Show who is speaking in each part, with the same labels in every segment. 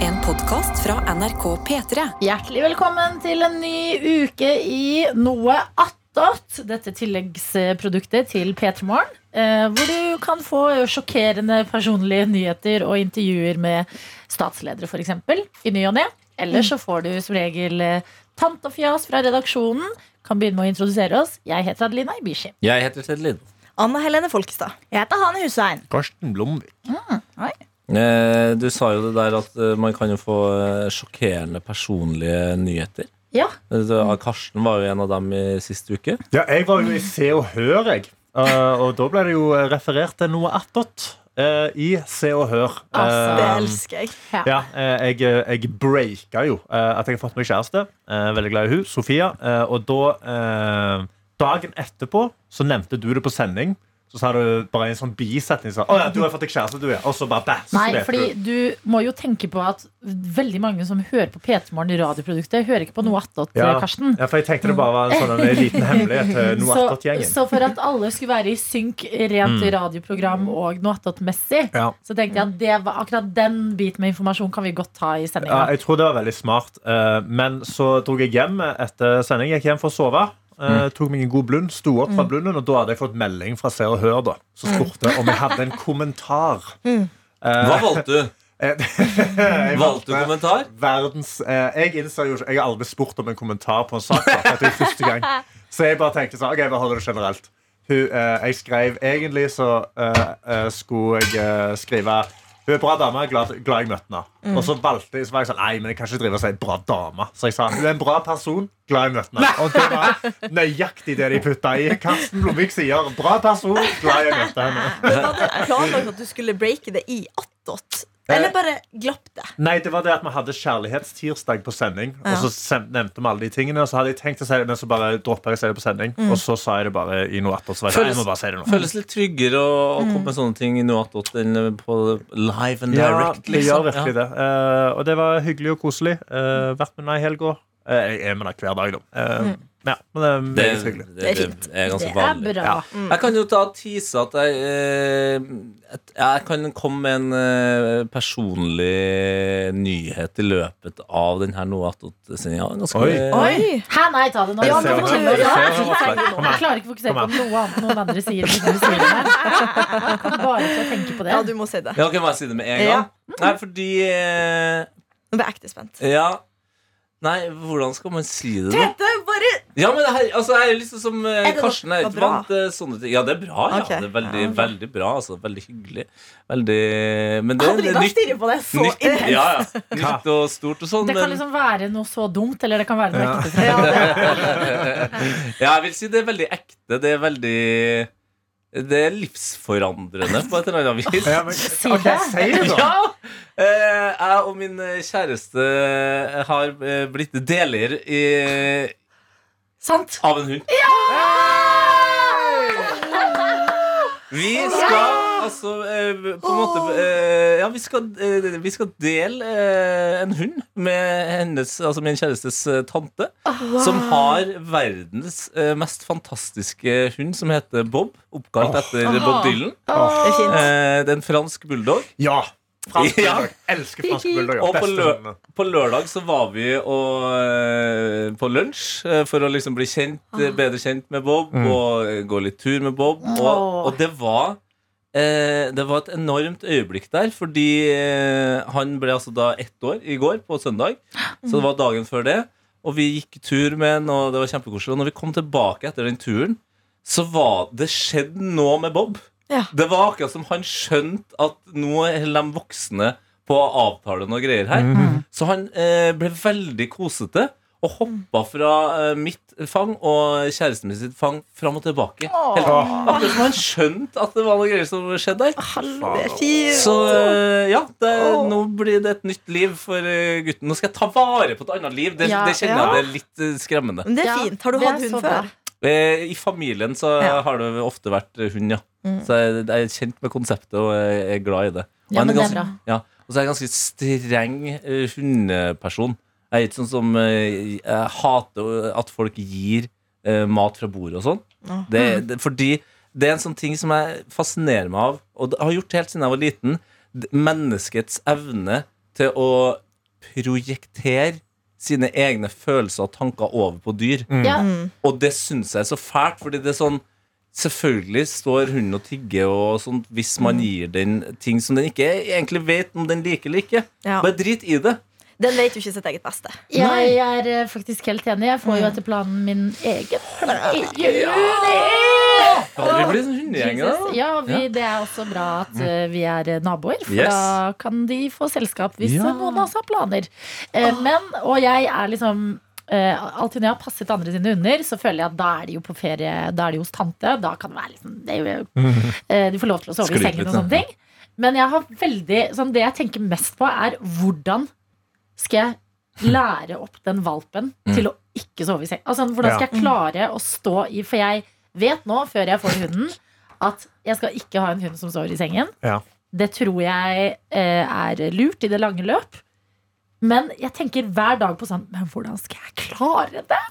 Speaker 1: En podkast fra NRK P3.
Speaker 2: Hjertelig velkommen til en ny uke i Noe attåt. Dette tilleggsproduktet til P3 Morgen, eh, hvor du kan få sjokkerende personlige nyheter og intervjuer med statsledere, f.eks., i ny og ne. Eller så får du som regel eh, tant og fjas fra redaksjonen. Kan begynne med å introdusere oss. Jeg heter Adelina Ibishi.
Speaker 3: Jeg heter Sedlin.
Speaker 4: Anna Helene Folkestad.
Speaker 5: Jeg heter Hanne Hussein.
Speaker 3: Karsten Blomvik.
Speaker 4: oi.
Speaker 3: Eh, du sa jo det der at eh, man kan jo få eh, sjokkerende personlige nyheter.
Speaker 2: Ja.
Speaker 3: Eh, så Karsten var jo en av dem i sist uke.
Speaker 6: Ja, jeg var jo i Se og Hør, jeg. Eh, og da ble det jo referert til noe attåt eh, i Se og Hør.
Speaker 2: Altså,
Speaker 4: Det
Speaker 3: Um,
Speaker 6: Eh,
Speaker 4: elsker jeg.
Speaker 6: ja, eh, jeg, jeg breaka jo eh, at jeg har fått meg kjæreste. Eh, veldig glad i hun, Sofia. Eh, og da eh, Dagen etterpå så nevnte du det på sending. Så sa du bare i en sånn bisetning sånn Å ja, du har fått deg kjæreste, du, ja. Og så bare bæ, så
Speaker 2: Nei,
Speaker 6: vet
Speaker 2: fordi
Speaker 6: du.
Speaker 2: du må jo tenke på at veldig mange som hører på P3 Morgen i radioproduktet, hører ikke på Noe attåt,
Speaker 6: Ja.
Speaker 2: Karsten.
Speaker 6: Ja, for jeg tenkte det bare var en sånn en liten hemmelighet til noe
Speaker 2: Så,
Speaker 6: attåt-gjengen.
Speaker 2: så for at alle skulle være i synk rent radioprogram og noe attåtmessig,
Speaker 6: Mm. Ja.
Speaker 2: så tenkte jeg at det var, akkurat den biten med informasjon kan vi godt ta i
Speaker 6: Ja,
Speaker 2: sendinga.
Speaker 6: jeg tror det var veldig smart. eh, Men så dro jeg hjem etter sending. Gikk hjem for å sove. eh, tok meg en god blund, sto opp fra blunden, og da hadde jeg fått melding fra Se og Hør da, som spurte om jeg hadde en kommentar.
Speaker 3: Eh, Hva valgte du?
Speaker 6: Eh, Jeg
Speaker 3: Valgte du kommentar?
Speaker 6: verdens eh, Jeg innså jo ikke Jeg har aldri spurt om en kommentar på en sak. Da, dette er jo første gang Så jeg bare tenkte sånn OK, vi holder det generelt. Hun, eh, jeg skrev egentlig så eh, eh, skulle jeg eh, skrive hun er bra dame, jeg er glad, glad jeg møtte henne. Og så valgte jeg, så var jeg sånn, nei, men jeg kan ikke drive og si bra dame. Så jeg sa hun er en bra person, glad jeg møtte henne. Og det var nøyaktig det de putta i. Karsten Blomvik sier bra person, glad jeg møtte henne.
Speaker 4: Men var det planlagt at du skulle breake det i attåt?
Speaker 3: Eh.
Speaker 4: Eller bare glapp det?
Speaker 6: Nei, det var det at vi hadde kjærlighetstirsdag på sending. Og så sem- nevnte vi alle de tingene Og så hadde jeg tenkt å si det, men så bare droppa jeg å si det på sending. Og så sa jeg det bare i noe attåt. så var jeg sånn,
Speaker 3: Føles-
Speaker 6: Jeg må bare si det nå.
Speaker 3: Føles litt tryggere å, å komme med sånne ting i noe attåt enn på live and
Speaker 6: Ja,
Speaker 3: direct.
Speaker 6: det gjør
Speaker 3: liksom.
Speaker 6: virkelig det. Eh, og det var hyggelig og koselig. Eh, vært med henne i helga. Eh, jeg er med henne hver dag, da. Eh, ja, men det er
Speaker 3: Ja.
Speaker 6: meget
Speaker 3: Det,
Speaker 6: hyggelig.
Speaker 3: det, det,
Speaker 4: Det
Speaker 3: er ganske
Speaker 2: Det er
Speaker 4: er
Speaker 3: vanlig.
Speaker 2: bra.
Speaker 6: Ja.
Speaker 3: Jeg kan jo ta og tease at jeg, eh, at jeg kan komme med en eh, personlig nyhet i løpet av denne Noe attåt-sendinga. Ganske-
Speaker 6: Oi.
Speaker 4: Oi!
Speaker 2: Hæ, nei, ta det nå.
Speaker 4: Ja,
Speaker 2: Jeg
Speaker 4: men
Speaker 6: Jeg ser-
Speaker 4: nå-
Speaker 6: jeg ser-
Speaker 4: ja.
Speaker 6: Kom her.
Speaker 2: jeg klarer ikke å fokusere på
Speaker 6: Kom
Speaker 2: noe annet enn noen andre sier. enn det du sier her. Jeg kan bare til å tenke på det.
Speaker 4: Ja, du må si det.
Speaker 3: Ja, kan jeg si det med en gang?
Speaker 4: Ja.
Speaker 3: Nei, fordi eh,
Speaker 4: Nå ble jeg ekte spent.
Speaker 3: Ja. Nei, hvordan skal man si det? da?
Speaker 4: Tete, bare
Speaker 3: Ja, men det her, altså, jeg er liksom som eh,
Speaker 4: Er det
Speaker 3: Karsten er
Speaker 4: noe-
Speaker 3: ikke
Speaker 4: bra?
Speaker 3: vant til sånne ting. Ja, det er bra. ja,
Speaker 4: Ok.
Speaker 3: Det er veldig,
Speaker 4: Ja, ok.
Speaker 3: veldig bra. altså, Veldig hyggelig. Veldig Men det, det
Speaker 4: Adelina
Speaker 3: er nytt.
Speaker 4: stirrer på deg så
Speaker 3: Nytt,
Speaker 4: intenst.
Speaker 3: ja, ja. nytt og stort og sånn.
Speaker 2: Det kan
Speaker 3: men-
Speaker 2: liksom være noe så dumt, eller det kan være noe
Speaker 6: Ja.
Speaker 2: ekte. fra-
Speaker 3: Ja, jeg vil si det er veldig ekte. Det er veldig Det er livsforandrende på et eller annet vis.
Speaker 6: Ja, men,
Speaker 2: Si
Speaker 6: ok,
Speaker 2: det.
Speaker 6: si det, da.
Speaker 3: Ja! Eh, jeg og min eh, kjæreste har eh, blitt deler i,
Speaker 2: Sant?
Speaker 3: av en hund. Vi skal altså eh, på en måte eh, Ja, vi skal, eh, vi skal dele eh, en hund med hennes, altså min kjærestes eh, tante. Som har verdens eh, mest fantastiske hund, som heter Bob. Oppkalt etter Bob Dylan.
Speaker 4: Det er fint.
Speaker 3: Eh, det er en fransk bulldog.
Speaker 6: Ja. Fransk
Speaker 3: Ja.
Speaker 6: bulldog. Elsker fransk bulldog.
Speaker 3: Og på,
Speaker 6: Beste
Speaker 3: lø
Speaker 6: hundene.
Speaker 3: på lørdag så var vi og, eh, på lunsj eh, for å liksom bli kjent, eh, bedre kjent med Bob og eh, gå litt tur med Bob. Og,
Speaker 2: Åh.
Speaker 3: og det var eh, Det var et enormt øyeblikk der, fordi eh, han ble altså da ett år i går, på søndag. Så det var dagen før det. Og vi gikk tur med han, og det var kjempekoselig. Og når vi kom tilbake etter den turen, så var det skjedd noe med Bob.
Speaker 4: Ja.
Speaker 3: Det var akkurat som han skjønte at nå holder de voksne på å avtale noe greier her. Så han eh, ble veldig kosete og hoppa fra eh, mitt fang og kjæresten min sitt fang fram og tilbake. Helt, akkurat som han skjønte at det var noe greier som skjedde der.
Speaker 4: Hallo, det er fint.
Speaker 3: Så eh, ja, det, nå blir det et nytt liv for eh, gutten. Nå skal jeg ta vare på et annet liv. Det,
Speaker 2: Ja,
Speaker 3: det kjenner
Speaker 4: ja.
Speaker 3: jeg det er litt eh, skremmende.
Speaker 4: Men det
Speaker 2: Ja,
Speaker 4: er fint. Har du
Speaker 2: det
Speaker 4: hatt
Speaker 2: er
Speaker 4: hund
Speaker 2: så bra.
Speaker 4: før?
Speaker 3: Eh, I familien så
Speaker 4: Ja.
Speaker 3: har det ofte vært eh, hund, ja. Så jeg, jeg er kjent med konseptet og jeg er glad i det. Og
Speaker 2: Mm. Ja,
Speaker 3: han
Speaker 2: men det er
Speaker 3: ganske-
Speaker 2: bra.
Speaker 3: Ja, og så er jeg ganske streng eh, hundeperson. Jeg er ikke sånn som eh, jeg hater at folk gir eh, mat fra bordet og sånn. Det,
Speaker 2: Mm.
Speaker 3: det, fordi det er en sånn ting som jeg fascinerer meg av, og det har gjort helt siden jeg var liten. d- Menneskets evne til å projektere sine egne følelser og tanker over på dyr.
Speaker 2: Ja.
Speaker 3: Og det syns jeg er så fælt, fordi det er sånn Selvfølgelig står hunden og tigger og sånt, hvis man gir den ting som den ikke egentlig vet om den liker eller ikke.
Speaker 4: Ja.
Speaker 3: Bare drit i det.
Speaker 4: Den vet jo ikke sitt eget beste.
Speaker 2: Jeg, er eh, faktisk helt enig. Jeg får jo etter planen min egen.
Speaker 3: Ja, vi blir sånn hundegjenge,
Speaker 2: Jesus.
Speaker 3: da. Mm.
Speaker 2: Ja, vi, Det er også bra at eh, vi er eh, naboer, for
Speaker 3: Yes.
Speaker 2: da kan de få selskap hvis
Speaker 3: Ja.
Speaker 2: eh, noen av oss har planer. Eh, Men, og jeg er liksom eh, Alltid når jeg har passet andre sine hunder, så føler jeg at da er de jo på ferie, da er de hos tante. Da kan det være liksom det er jo, eh, De får lov til å sove
Speaker 3: Sklir
Speaker 2: i sengen
Speaker 3: litt,
Speaker 2: og
Speaker 3: ja.
Speaker 2: sånne ting. Men jeg har veldig, sånn, det jeg tenker mest på, er hvordan skal jeg lære opp den valpen til å ikke sove i seng? Altså, hvordan skal jeg klare å stå i For jeg vet nå, før jeg får hunden, at jeg skal ikke ha en hund som sover i sengen.
Speaker 6: Ja.
Speaker 2: Det tror jeg eh, er lurt i det lange løp. Men jeg tenker hver dag på sånn Men hvordan skal jeg klare det?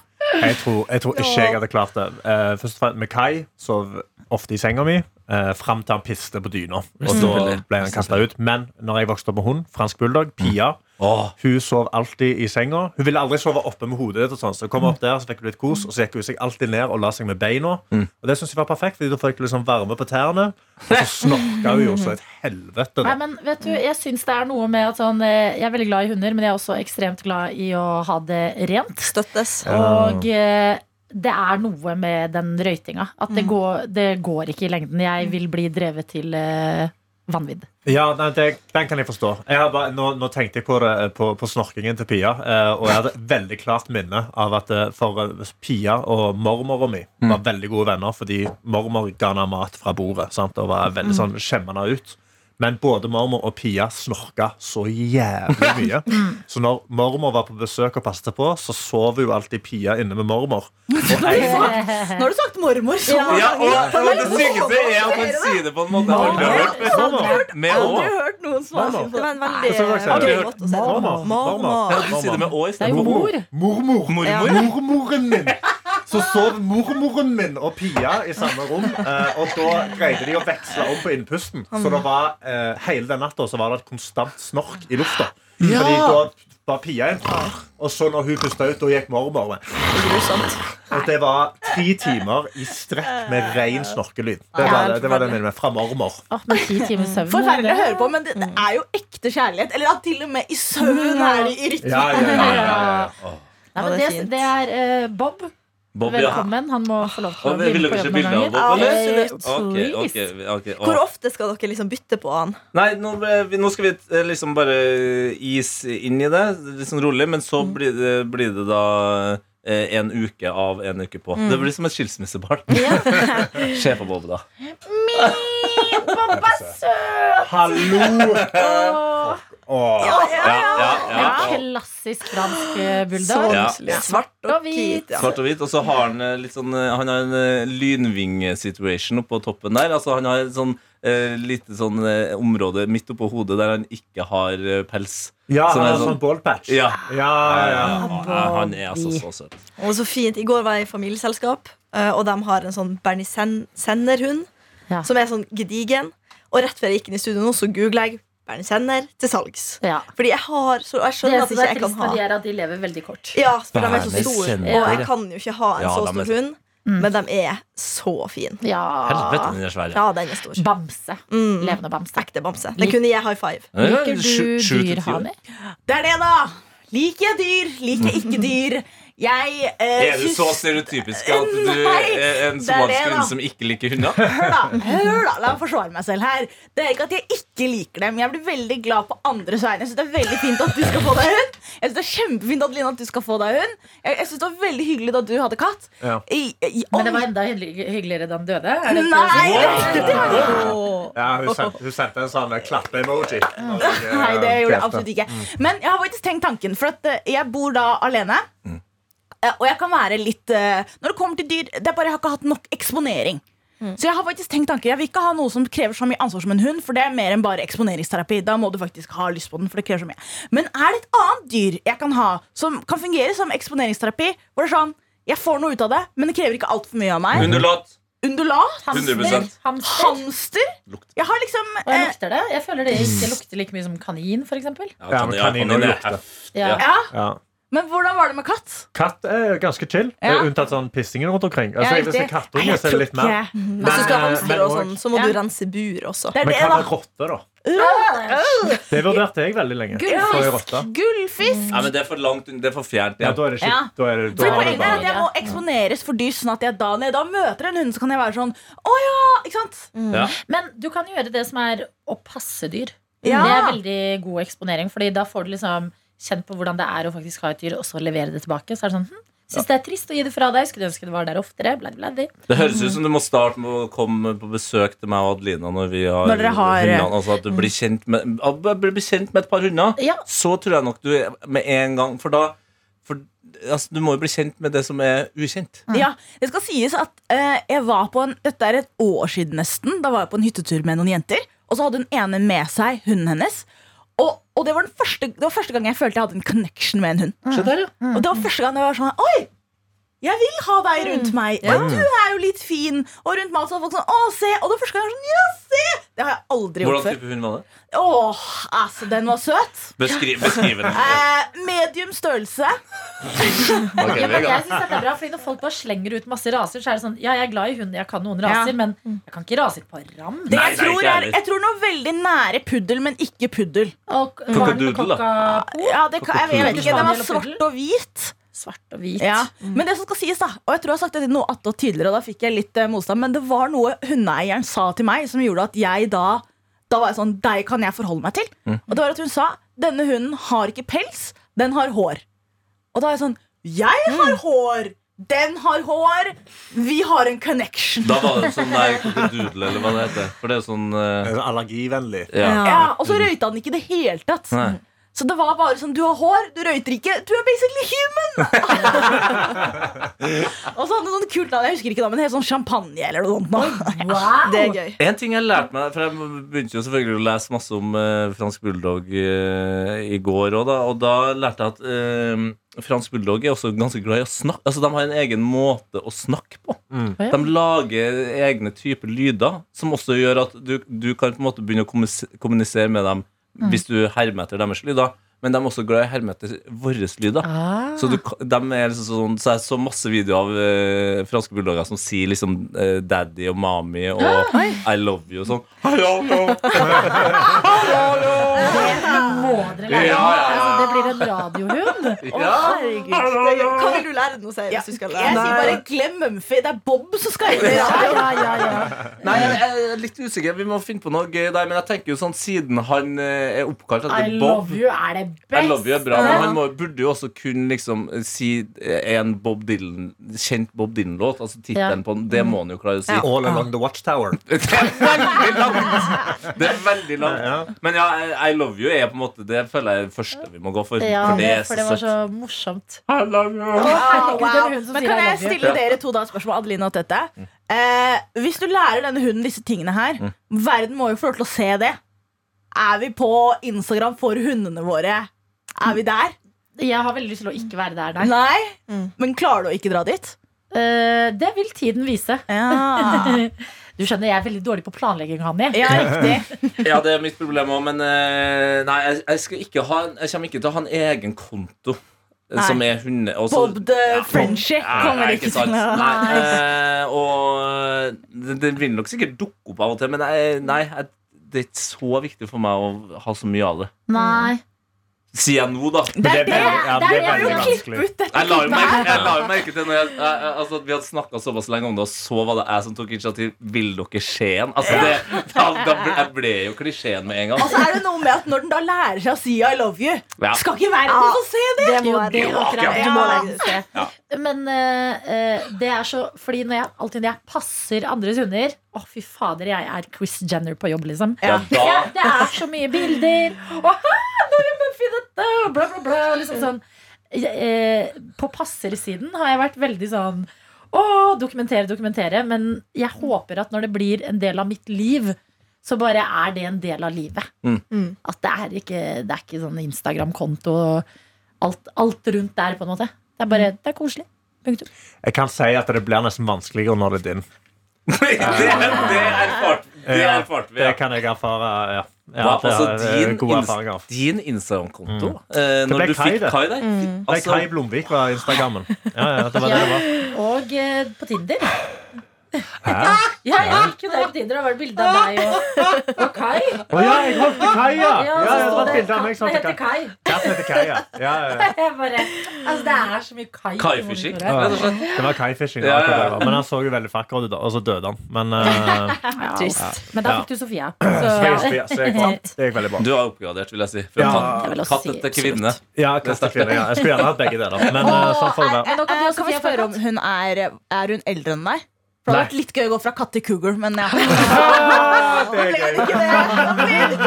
Speaker 6: Jeg tror, jeg tror ikke jeg hadde klart det. Eh, først og fremst med Kai sov ofte i senga mi. Uh, fram til han piste på dyna. Og da
Speaker 3: Selvfølgelig.
Speaker 6: ble han kasta ut. Men når jeg vokste opp med hund, fransk bulldog, Pia
Speaker 3: Åh,
Speaker 6: Hun sov alltid i senga. Hun ville aldri sove oppe med hodet. ditt Og sånn. så kom hun opp der, så fikk hun litt kos, og så gikk hun seg alltid ned og la seg med beina.
Speaker 3: Mm.
Speaker 6: Og det synes jeg var perfekt, fordi da fikk hun liksom varme på tærne. Og så snorka hun jo som et helvete.
Speaker 2: Nei,
Speaker 6: Da.
Speaker 2: men vet du, Jeg syns det er noe med at sånn eh, Jeg er veldig glad i hunder, men jeg er også ekstremt glad i å ha det rent.
Speaker 4: Støttes.
Speaker 2: Og eh, det er noe med den røytinga. At
Speaker 4: Mm.
Speaker 2: det går, det går ikke i lengden. Jeg vil bli drevet til eh, vanvidd.
Speaker 6: Ja, nei, det, Den kan jeg forstå. Jeg har bare, nå, nå tenkte jeg på, det, eh, på, på snorkingen til Pia, eh, og jeg hadde et veldig klart minne av at eh, for eh, Pia og mormora mi var veldig gode venner fordi mormor ga henne mat fra bordet sant? og var veldig sånn skjemmende ut. Men både mormor og Pia snorka så jævlig mye. Så når mormor var på besøk og passet på, så sov jo alltid Pia inne med mormor. Og en,
Speaker 4: Nå har du sagt mormor. så mange
Speaker 3: Ja, og,
Speaker 4: ganger.
Speaker 3: og det sykeste er at man sier det på en måte
Speaker 2: Sånn,
Speaker 3: jeg aldri har hørt før. Med å.
Speaker 4: Aldri hørt noen svare
Speaker 6: Mormor.
Speaker 4: Det var en veldig
Speaker 6: Ja, så var det sant.
Speaker 4: gøy måte å si det
Speaker 6: Mormor.
Speaker 4: på. Mormor.
Speaker 3: Ja, du sier det med å i
Speaker 2: Det er
Speaker 3: stedet
Speaker 2: jo
Speaker 3: for
Speaker 2: mor.
Speaker 6: Mormor.
Speaker 3: Mormor?
Speaker 6: Mormoren min. Så sov mormoren min og Pia i samme rom. eh, Og da greide de å veksle om på innpusten. Så det var, eh, hele den natta så var det et konstant snork i lufta. Fordi da var Pia inn. Og så når hun pusta ut, da gikk mormor med. Og det var tre timer i strekk med ren snorkelyd. Det var, det, det var den minnet med. Fra mormor.
Speaker 2: Åh, men ti timer søvn
Speaker 4: Mm. Forferdelig å
Speaker 2: det-
Speaker 4: høre på, men det, det er jo ekte kjærlighet. Eller at til og med i søvn er de i rytme.
Speaker 6: Ja, ja, ja, ja, ja.
Speaker 2: Nei, men
Speaker 4: Ja,
Speaker 2: det,
Speaker 4: det er fint.
Speaker 2: det er eh, Bob.
Speaker 3: Bob, ja.
Speaker 2: Velkommen. Han må få lov til å
Speaker 3: Og vil
Speaker 2: bli
Speaker 3: dere
Speaker 2: med på
Speaker 3: ikke
Speaker 2: jobb noen
Speaker 3: bilde av
Speaker 2: ganger.
Speaker 3: Bob? eller?
Speaker 4: Absolutt.
Speaker 3: Ok, ok,
Speaker 2: Please.
Speaker 3: ok Åh.
Speaker 4: Hvor ofte skal dere liksom bytte på han?
Speaker 3: Nei, nå, ble- vi- nå skal vi eh, liksom bare is inn i det, liksom rolig, men så blir det, blir det da eh, en uke av en uke på. Det blir som et skilsmissebarn. Se på Bob, da.
Speaker 6: Hallo! Åh.
Speaker 3: Ja, ja, ja.
Speaker 2: En klassisk fransk eh, bulldog.
Speaker 3: Ja.
Speaker 4: ordentlig. Sånn Svart
Speaker 2: Og
Speaker 4: og
Speaker 2: hvit.
Speaker 4: hvit. Ja.
Speaker 3: Svart og hvit. Og så har han eh, litt sånn eh, Han har en eh, lynving-situation oppå toppen der. Altså Han har et sånn eh, lite sånn eh, område midt oppå hodet der han ikke har eh, pels.
Speaker 6: Ja,
Speaker 3: Som
Speaker 6: han
Speaker 3: er
Speaker 6: har sånn
Speaker 3: sånn-
Speaker 6: ballpatch.
Speaker 3: Ja.
Speaker 6: ja, ja.
Speaker 3: Ja, Han er altså så søt.
Speaker 4: Og så fint, I går var jeg i familieselskap, eh, og de har en sånn Bernie Sen- Senner-hund.
Speaker 2: Ja.
Speaker 4: Som er sånn gedigen. Og rett før jeg gikk inn i studio nå, så googla jeg Bernie Senner til salgs.
Speaker 2: Ja.
Speaker 4: Fordi jeg har, så jeg
Speaker 2: Det
Speaker 4: skjønner at
Speaker 2: som
Speaker 4: ikke
Speaker 2: er
Speaker 4: jeg kan
Speaker 2: trist med
Speaker 4: ha
Speaker 2: de, er at de lever veldig kort.
Speaker 4: Ja, for de er så
Speaker 3: Bernie
Speaker 4: store.
Speaker 3: Senner,
Speaker 4: Og
Speaker 3: ja.
Speaker 4: jeg kan jo ikke ha en
Speaker 3: Ja,
Speaker 4: så
Speaker 3: de er
Speaker 4: stor hund, men de er så fine.
Speaker 2: Ja.
Speaker 3: Helvete, den er svær.
Speaker 4: Ja, den er stor.
Speaker 2: Bamse.
Speaker 4: Mm.
Speaker 2: Levende bamse.
Speaker 4: Ekte bamse. Den kunne jeg high five.
Speaker 3: Ja,
Speaker 2: Liker
Speaker 3: sju-
Speaker 2: du
Speaker 3: sju til
Speaker 2: dyr,
Speaker 3: ti år.
Speaker 2: Hani?
Speaker 4: Det er det, da! Liker jeg dyr? Liker jeg ikke dyr? Jeg eh,
Speaker 3: Er du så stereotypisk at du
Speaker 4: Nei,
Speaker 3: er en
Speaker 4: det er
Speaker 3: somalisk
Speaker 4: det, da.
Speaker 3: hund som ikke liker hunder?
Speaker 4: Hør, da! hør da, La meg forsvare meg selv her. Det er ikke at jeg ikke liker dem. Jeg blir veldig glad på andres vegne. Jeg synes Det er veldig fint at du skal få deg hund. Jeg synes det er kjempefint at Lina at du skal få deg hund. Jeg, jeg synes det var veldig hyggelig da du hadde katt.
Speaker 6: Ja.
Speaker 4: I- i- om-
Speaker 2: Men det var enda hyggelig- hyggeligere da han døde. Er det ikke det å si?
Speaker 4: Nei! Det, det,
Speaker 6: Ja, hun sendte, hun sendte en sånn klappe-emoji.
Speaker 4: Nei,
Speaker 6: Eh,
Speaker 4: det gjorde jeg absolutt ikke.
Speaker 6: Mm.
Speaker 4: Men jeg har faktisk tenkt tanken, for at eh, jeg bor da alene.
Speaker 6: Mm.
Speaker 4: Eh, Og jeg kan være litt eh, Når det kommer til dyr, det er bare jeg har ikke hatt nok eksponering.
Speaker 2: Mm.
Speaker 4: Så jeg har faktisk tenkt tanken Jeg vil ikke ha noe som krever så mye ansvar som en hund, for det er mer enn bare eksponeringsterapi. Da må du faktisk ha lyst på den, for det krever så mye. Men er det et annet dyr jeg kan ha som kan fungere som eksponeringsterapi, hvor det er sånn jeg får noe ut av det, men det krever ikke altfor mye av meg?
Speaker 3: Hundelat.
Speaker 4: Undulat?
Speaker 3: 100%.
Speaker 2: Hamster?
Speaker 4: Hamster?
Speaker 3: Lukt.
Speaker 4: Jeg har liksom
Speaker 2: Og jeg
Speaker 4: eh,
Speaker 2: lukter det. Jeg føler det ikke lukter like mye som kanin, for eksempel.
Speaker 6: Ja, men kaniner lukter.
Speaker 2: Ja.
Speaker 4: Ja,
Speaker 6: Ja.
Speaker 4: men hvordan var det med katt?
Speaker 6: Katt er ganske chill,
Speaker 4: Ja.
Speaker 6: eh, unntatt sånn pissingen rundt omkring.
Speaker 4: Ja,
Speaker 6: Altså, jeg, hvis det
Speaker 4: riktig.
Speaker 6: er kattunge, så er det litt mer.
Speaker 4: Nei,
Speaker 5: Hvis du skal ha
Speaker 6: Men, eh,
Speaker 5: hamster og
Speaker 6: men
Speaker 5: sånn, så må
Speaker 4: Ja.
Speaker 5: du rense bur også.
Speaker 4: Det er
Speaker 6: Men
Speaker 4: det,
Speaker 6: hva
Speaker 4: da.
Speaker 6: med rotte, da? Det vurderte jeg veldig lenge. Så er rotte.
Speaker 4: Gullfisk.
Speaker 3: Nei, men det er for langt unna. Det er for fjernt.
Speaker 6: Ja,
Speaker 3: Ja.
Speaker 6: da er det ikke
Speaker 4: Ja.
Speaker 6: da er det, da
Speaker 4: Så
Speaker 6: har du
Speaker 4: poenget er at
Speaker 6: bare,
Speaker 4: jeg må eksponeres for dyr, sånn at jeg da når jeg da møter en hund, så kan jeg være sånn Å ja! Ikke sant?
Speaker 5: Mm.
Speaker 3: Ja.
Speaker 2: Men du kan gjøre det som er å passe dyr.
Speaker 4: Ja.
Speaker 2: Det er veldig god eksponering, Fordi da får du liksom kjent på hvordan det er å faktisk ha et dyr, og så levere det tilbake. Så er det sånn, hm, Syns det er trist å gi det fra deg. Skulle ønske det var der oftere. Bla, bla, bla.
Speaker 3: Det høres ut som du må starte med å komme på besøk til meg og Adelina når vi har,
Speaker 4: Når dere har- Mm.
Speaker 3: hundene. Altså at du blir kjent med, ja, bare blir kjent med et par hunder.
Speaker 2: Ja.
Speaker 3: Så tror jeg nok du er med en gang For da for, altså, Du må jo bli kjent med det som er ukjent.
Speaker 4: Ja, Det skal sies at eh, jeg var på en Dette er et år siden nesten. Da var jeg på en hyttetur med noen jenter. Og så hadde hun ene med seg hunden hennes. Og, og det, var den første, det var første gang jeg følte jeg hadde en connection med en hund.
Speaker 3: Se der, ja.
Speaker 4: Og det var første gang jeg var sånn Oi! Jeg vil ha deg rundt meg. Og du er jo litt fin. Og rundt meg så var folk sånn Å, se! Og det var første gang jeg var sånn Ja, se! Det har jeg aldri gjort
Speaker 3: Hvordan
Speaker 4: før.
Speaker 3: type hund var det?
Speaker 4: Åh, altså, den var søt.
Speaker 3: Beskriv, beskriv den.
Speaker 4: Eh, medium størrelse.
Speaker 3: Ok,
Speaker 2: Ja, men
Speaker 3: Vegard.
Speaker 2: jeg synes dette er bra, fordi Når folk bare slenger ut masse raser, så er det sånn Ja, jeg er glad i hund, jeg kan noen raser,
Speaker 4: Ja.
Speaker 2: men jeg kan ikke rase på ram.
Speaker 4: Det
Speaker 3: Nei,
Speaker 4: jeg,
Speaker 3: nei,
Speaker 4: tror
Speaker 3: ikke
Speaker 4: er,
Speaker 3: heller.
Speaker 4: jeg tror noe veldig nære puddel, men ikke puddel.
Speaker 2: Og
Speaker 3: Cockadoodle,
Speaker 2: barn-
Speaker 3: da.
Speaker 2: kokka-
Speaker 4: Ja, Oh, det kan, jeg, jeg vet ikke, Den var
Speaker 2: Puddel.
Speaker 4: svart og hvit.
Speaker 2: Svart og hvit.
Speaker 4: Ja. Men det som skal sies da Og jeg tror jeg har sagt dette noe attåt tidligere, og da fikk jeg litt eh, motstand, men det var noe hundeeieren sa til meg som gjorde at jeg da Da var jeg sånn Deg kan jeg forholde meg til.
Speaker 3: Mm.
Speaker 4: Og det var at hun sa denne hunden har ikke pels, den har hår. Og da er jeg sånn Jeg har hår! Den har hår! Vi har en connection.
Speaker 3: Da var det sånn der doodle, eller hva det heter. For det er sånn eh,
Speaker 6: eh, Allergivennlig.
Speaker 3: ja.
Speaker 4: Ja, og så røyta han ikke i det hele tatt.
Speaker 3: Nei.
Speaker 4: Så det var bare sånn Du har hår, du røyter ikke, du er basically human! og så hadde han sånn kult navn, jeg husker ikke da, men helt sånn champagne eller noe sånt. nå.
Speaker 2: Wow.
Speaker 4: Det er gøy.
Speaker 3: En ting jeg lærte meg, for jeg begynte jo selvfølgelig å lese masse om eh, fransk bulldog eh, i går òg, da. Og da lærte jeg at eh, fransk bulldog er også ganske glad i å snakke. Altså, de har en egen måte å snakke på. De lager egne typer lyder som også gjør at du, du kan på en måte begynne å kommunis- kommunisere med dem hvis du hermer etter deres lyder. Men de er også glad i å herme etter våre lyder.
Speaker 2: Ah.
Speaker 3: Så, du, ka- dem er liksom sånn, så jeg så masse videoer av eh, franske bulldogger som sier liksom eh, 'daddy' og 'mami' og
Speaker 2: Ah,
Speaker 3: 'I love you' og sånn.
Speaker 2: Må dere lære
Speaker 3: Ja, ja, ja.
Speaker 2: Altså, det blir en radiohund.
Speaker 5: Hva vil du lære nå, sier jeg, hvis du skal
Speaker 4: Jeg
Speaker 5: lære?
Speaker 4: sier bare glem Mumphy, det er Bob som skal gjøre
Speaker 2: Ja,
Speaker 4: det.
Speaker 2: ja, ja, ja.
Speaker 3: Nei, jeg jeg er litt usikker. Vi må finne på noe gøy der. Men jeg tenker jo sånn siden han eh, er oppkalt
Speaker 2: I
Speaker 3: etter Bob
Speaker 2: love you er det beste.
Speaker 3: I love you er bra, men han må, burde jo også kunne liksom eh, si eh, en Bob Dylan kjent Bob Dylan-låt. Altså tittelen på den. Det må han jo klare å si.
Speaker 6: All along the watchtower.
Speaker 3: Det er veldig langt! Det er veldig langt. Men ja, I love you er på en måte det føler jeg er det første vi må gå for.
Speaker 2: Ja,
Speaker 3: for det er
Speaker 2: for
Speaker 3: så
Speaker 2: det var
Speaker 3: søtt.
Speaker 2: så morsomt.
Speaker 3: I love you.
Speaker 2: Herregud, det er hun som
Speaker 4: Men
Speaker 2: sier
Speaker 4: kan
Speaker 2: I
Speaker 4: jeg
Speaker 2: love you.
Speaker 4: stille dere to da et spørsmål, Adeline og Tette? Eh, hvis du lærer denne hunden disse tingene her, verden må jo få lov til å se det. Er vi på Instagram for hundene våre? Er vi der?
Speaker 2: Jeg har veldig lyst til å ikke være der, nei. Mm.
Speaker 4: Nei? Men klarer du å ikke dra dit?
Speaker 2: Eh, det vil tiden vise.
Speaker 4: Ja,
Speaker 2: Du skjønner, jeg er veldig dårlig på planlegging, Hanni.
Speaker 4: ja riktig.
Speaker 3: Ja, det er mitt problem òg, men eh, Nei, jeg, jeg, skal ikke ha, en- jeg kommer ikke til å ha en egen konto eh,
Speaker 4: Nei.
Speaker 3: som er hunde... og så-
Speaker 4: Bob
Speaker 2: eh,
Speaker 4: the Frenchie
Speaker 3: Ja,
Speaker 4: kommer
Speaker 3: nei,
Speaker 4: ikke
Speaker 3: sant.
Speaker 4: til å
Speaker 3: Nei, eh, og det, det vil nok sikkert dukke opp av og til, men jeg, nei, jeg, det er ikke så viktig for meg å ha så mye av det.
Speaker 2: Nei.
Speaker 3: Sier jeg nå, da.
Speaker 6: Men det er veldig, ja, det er
Speaker 2: det er
Speaker 6: veldig
Speaker 2: jo
Speaker 6: vanskelig.
Speaker 3: Jeg la jo merke, jeg la jo merke til når jeg, jeg, jeg, altså, at vi hadde snakka såpass lenge om det, og så var det jeg som tok initiativ. Vil dere skjeen? Altså, det, da, da ble, jeg ble jo klisjeen med en gang.
Speaker 4: Og så Altså, er det noe med at når den da lærer seg å si 'I love you',
Speaker 3: Ja.
Speaker 4: skal ikke verden
Speaker 5: Ja.
Speaker 4: få se det!
Speaker 5: Det må
Speaker 2: Jo, det
Speaker 5: være
Speaker 2: er akkurat-
Speaker 5: Du må legge det ut.
Speaker 2: Men eh, eh, det er så Fordi når jeg, alltid når jeg passer andres hunder Å, fy fader, jeg er Chris Jenner på jobb, liksom.
Speaker 3: Ja, da
Speaker 2: Ja, det er så mye bilder. Og «Hæ, nå er Muffy dette, og bla, bla, bla. og Liksom sånn. Jeg, eh, på passersiden har jeg vært veldig sånn å, dokumentere, dokumentere. Men jeg håper at når det blir en del av mitt liv, så bare er det en del av livet.
Speaker 3: Mm.
Speaker 5: Mm.
Speaker 2: At det er ikke, det er ikke sånn Instagram-konto og alt, alt rundt der, på en måte. Det er bare det er koselig. Punktum.
Speaker 6: Jeg kan si at det blir nesten vanskeligere når det er din.
Speaker 3: det, det erfarte det
Speaker 6: Ja,
Speaker 3: erfarte vi.
Speaker 6: Det
Speaker 3: Ja.
Speaker 6: kan jeg erfare. Ja. Ja,
Speaker 3: Hva,
Speaker 6: det
Speaker 3: altså,
Speaker 6: har jeg
Speaker 3: din,
Speaker 6: gode
Speaker 3: ins-
Speaker 6: erfaringer av.
Speaker 3: din Instagram-konto eh, Når
Speaker 6: ble
Speaker 3: du
Speaker 6: Kai,
Speaker 3: fikk
Speaker 6: det.
Speaker 3: Kai der
Speaker 5: Mm.
Speaker 3: fikk,
Speaker 6: Nei,
Speaker 3: altså,
Speaker 6: Kai Blomvik var Instagrammen. Ja, ja, det var det det var.
Speaker 2: Og eh, på Tinder.
Speaker 6: Hæ?
Speaker 2: Ja, jeg gikk jo der på Tinder og var det bilde av deg og, og Kai.
Speaker 6: Å ja, jeg holdt til Kai, ja! ja
Speaker 2: så
Speaker 6: det
Speaker 2: sto
Speaker 6: var et bilde av meg som
Speaker 2: Katten
Speaker 6: holdt til
Speaker 2: heter
Speaker 6: Kai.
Speaker 2: Kai.
Speaker 6: Katten heter Kai, ja. ja, ja.
Speaker 2: Jeg bare, altså, det er så mye Kai. i
Speaker 3: Kai-fishing,
Speaker 2: monitoret.
Speaker 3: rett og slett.
Speaker 6: Det var Kai-fishing.
Speaker 3: sånn- Ja, ja, ja.
Speaker 6: akkurat det var. Men han så jo veldig fakker ut, da, og så døde han. Men eh,
Speaker 5: Trist.
Speaker 2: Men da
Speaker 6: Ja.
Speaker 2: fikk du Sofia. Så,
Speaker 6: så jeg, så jeg, så jeg, det gikk veldig bra.
Speaker 3: Du har oppgradert, vil jeg si. Fra
Speaker 6: Ja.
Speaker 3: katt-
Speaker 5: Jeg vil også
Speaker 3: katt
Speaker 5: si-
Speaker 3: til kvinne.
Speaker 6: Ja, katt og kvinne, ja. Jeg skulle gjerne hatt begge deler. Men eh, sånn får det være.
Speaker 2: men nå kan du
Speaker 4: Eh,
Speaker 2: også
Speaker 4: Kan vi
Speaker 2: si at
Speaker 4: spørre om
Speaker 2: katt.
Speaker 4: hun er, er hun eldre enn deg? For Det
Speaker 6: Nei.
Speaker 4: hadde vært litt gøy å gå fra katt til cougar, men ja.
Speaker 6: Ah, Det
Speaker 4: Ble
Speaker 6: er
Speaker 4: det
Speaker 6: gøy.
Speaker 4: ikke det?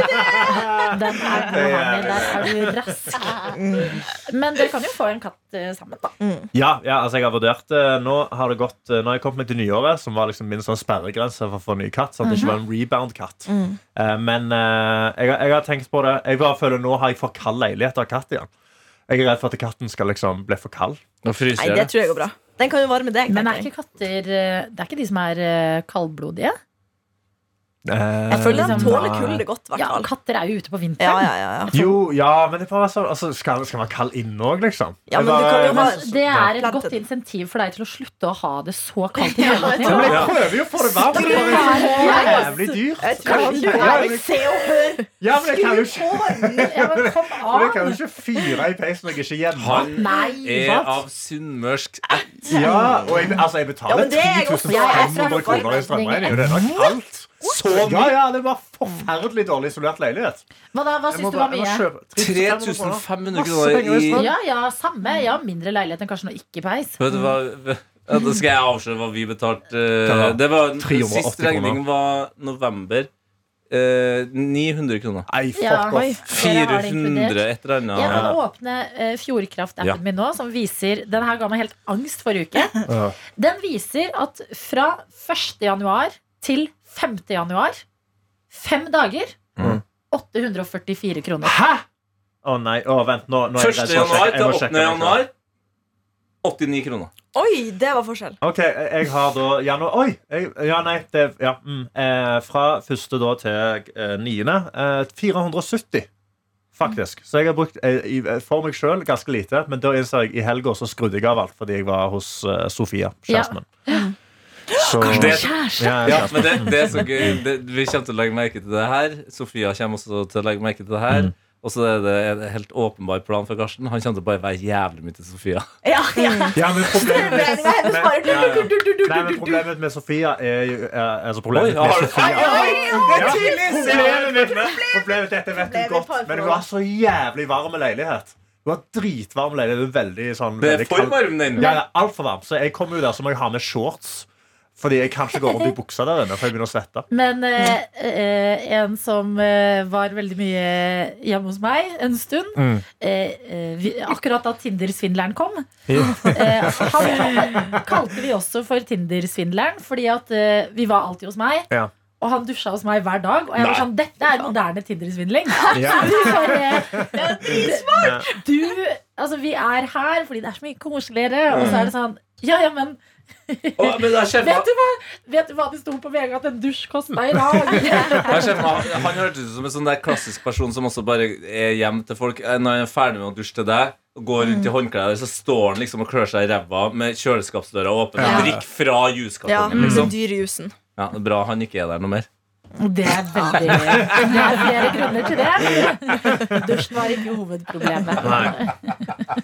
Speaker 2: Den er Mm. god,
Speaker 6: Det er-
Speaker 2: Hamid. Der er du rask. Men dere kan jo få en katt eh, sammen, da.
Speaker 6: Ja, ja, altså jeg har vurdert eh, Nå har det gått eh, Nå har jeg kommet meg til nyåret, som var liksom min sånn sperregrense for å få en ny katt. Sånn at
Speaker 5: Mhm.
Speaker 6: det ikke var en rebound-katt.
Speaker 5: Mm.
Speaker 6: Eh, men eh, jeg, har- jeg har tenkt på det. Jeg bare føler Nå har jeg for kald leilighet av katt igjen. Jeg er redd for at katten skal liksom bli for kald.
Speaker 3: Nå fryser
Speaker 5: Nei, det
Speaker 3: jeg.
Speaker 5: tror jeg går bra. Den kan jo varme deg.
Speaker 2: Men
Speaker 5: tenker
Speaker 2: er
Speaker 5: jeg.
Speaker 2: ikke katter eh, Det er ikke de som er eh, kaldblodige?
Speaker 6: Eh,
Speaker 5: Jeg føler den
Speaker 2: Liksom-
Speaker 5: tåler kulde godt, i hvert
Speaker 2: Ja,
Speaker 5: fall.
Speaker 2: katter er jo ute på
Speaker 5: Ja,
Speaker 2: vinteren.
Speaker 5: ja, ja, ja.
Speaker 6: Jo, ja, men det er bare sånn altså, skal, skal man kalle inne òg, liksom?
Speaker 5: Ja, men
Speaker 6: Jeg
Speaker 5: du
Speaker 6: bare-
Speaker 5: kan jo ha-
Speaker 2: Det er et
Speaker 5: Plantet.
Speaker 2: godt insentiv for deg til å slutte å ha det så kaldt i hele
Speaker 6: Ja,
Speaker 2: tiden.
Speaker 6: men jeg prøver jo å få det varmt. Det er jævlig dyrt.
Speaker 5: Jeg tror han
Speaker 6: Ja, men jeg-
Speaker 5: Se og hør!
Speaker 6: Ja, men jeg kan jo ikke,
Speaker 2: Ja, men kom
Speaker 6: men jeg kan jo
Speaker 2: an!
Speaker 6: ikke fyre i peisen når jeg ikke er hjemme.
Speaker 3: Han
Speaker 2: Nei,
Speaker 3: er
Speaker 2: sant?
Speaker 3: Eh, av sunnmørsk ætt.
Speaker 6: Ja, og jeg, altså, jeg
Speaker 5: Ja,
Speaker 6: betaler
Speaker 5: men det er jeg også. Jeg er
Speaker 6: 3500 kroner i strømregning, og det er da kaldt. Ja, ja, det var forferdelig dårlig isolert leilighet.
Speaker 2: Hva, da, hva
Speaker 6: Jeg
Speaker 2: syns
Speaker 6: må
Speaker 2: du
Speaker 6: bare-
Speaker 2: var
Speaker 6: jeg må
Speaker 2: mye?
Speaker 6: kjøpe
Speaker 3: 3500
Speaker 6: Masse penger i
Speaker 3: kroner i
Speaker 6: strøm.
Speaker 2: Ja, ja, samme. Jeg har mindre leilighet enn kanskje når ikke peis.
Speaker 3: Vet du hva ja, Da skal jeg avsløre hva vi betalte.
Speaker 6: Hva da?
Speaker 3: Det var
Speaker 6: 380
Speaker 3: Sist regning var november. Eh, 900 kroner.
Speaker 6: Nei,
Speaker 2: Ja.
Speaker 6: fuck off.
Speaker 2: Dere har det
Speaker 3: 400
Speaker 2: inkludert.
Speaker 3: et eller annet.
Speaker 2: Jeg kan åpne eh, Fjordkraft-appen
Speaker 3: Ja.
Speaker 2: min nå, som viser Den her ga meg helt angst forrige uke.
Speaker 6: Ja.
Speaker 2: Den viser at fra 1. januar til 5. januar Fem dager.
Speaker 6: Mhm.
Speaker 2: 844 kroner.
Speaker 6: Hæ? Å nei, å vent, nå, nå er jeg
Speaker 3: 1.
Speaker 6: redd for å
Speaker 3: januar
Speaker 6: sjekke.
Speaker 3: til
Speaker 6: Jeg
Speaker 3: 8.
Speaker 6: må sjekke det.
Speaker 3: januar 89 kroner.
Speaker 5: Oi, det var forskjell.
Speaker 6: Ok, jeg har da januar Oi! Jeg, ja, nei, det ja, mm, eh, Fra første da til eh, niende. Eh, 470, faktisk. Så jeg har brukt eh, i, for meg sjøl ganske lite. Men da innser jeg i helga så skrudde jeg av alt fordi jeg var hos eh, Sofia, kjæresten min. Så
Speaker 3: Det-
Speaker 2: Kjæreste!
Speaker 6: ja,
Speaker 3: Ja,
Speaker 6: kjæresten.
Speaker 3: men det, det er så gøy. Det, vi kommer til å legge merke til det her. Sofia kommer også til å legge merke til det
Speaker 6: Mm.
Speaker 3: her. Og så er det en helt åpenbar plan for Karsten. Han kommer til å bare være jævlig mye til Sofia.
Speaker 4: Ja, ja.
Speaker 2: Mm.
Speaker 6: ja, men problemet med,
Speaker 4: Regningen hennes bare
Speaker 3: Ja, ja.
Speaker 6: nei, men problemet med Sofia er jo er, Altså,
Speaker 3: Oi,
Speaker 6: problemet
Speaker 3: har
Speaker 6: med
Speaker 3: du-
Speaker 6: Sofia Ja, Problemet mitt Problemet dette vet
Speaker 4: Problemet
Speaker 6: du godt,
Speaker 4: parforhold.
Speaker 6: men hun har så jævlig varm leilighet. Hun har dritvarm leilighet. Hun er veldig sånn
Speaker 3: Det er
Speaker 6: veldig
Speaker 3: for
Speaker 6: kald.
Speaker 3: varm, den.
Speaker 6: Ja, ja, altfor varm. Så jeg kommer jo der, så må jeg ha med shorts. Fordi jeg kan ikke gå rundt i buksa der inne, for jeg begynner å svette.
Speaker 2: Men eh, eh, en som eh, var veldig mye hjemme hos meg en stund
Speaker 6: Mm.
Speaker 2: eh, eh, vi, Akkurat da Tinder-svindleren kom. Eh, han kalte vi også for Tinder-svindleren, fordi at eh, vi var alltid hos meg.
Speaker 6: Ja.
Speaker 2: Og han dusja hos meg hver dag. Og jeg var
Speaker 3: Nei.
Speaker 2: sånn, dette er moderne Tinder-svindling.
Speaker 6: Ja.
Speaker 2: Du bare- Du, altså Vi er her fordi det er så mye koseligere, og så er det
Speaker 6: Mm.
Speaker 2: sånn Ja, ja, men
Speaker 3: Å, men jeg ser for meg-
Speaker 2: vet du hva, vet du hva det sto på VG at en dusj kosta i dag?
Speaker 3: Jeg ser for meg, han hørtes ut som en sånn der klassisk person som også bare er hjem til folk. Eh, Når han er ferdig med å dusje til deg, og går rundt i håndklær, så står han liksom og klør seg i ræva med kjøleskapsdøra åpen og
Speaker 6: Ja.
Speaker 3: drikker fra
Speaker 5: Ja,
Speaker 3: juskartongen.
Speaker 5: Den
Speaker 3: Liksom.
Speaker 5: dyre jusen.
Speaker 3: Ja, bra han ikke er der noe mer.
Speaker 2: Det er veldig Det er flere grunner til det. Dusjen var ikke hovedproblemet.
Speaker 6: Nei.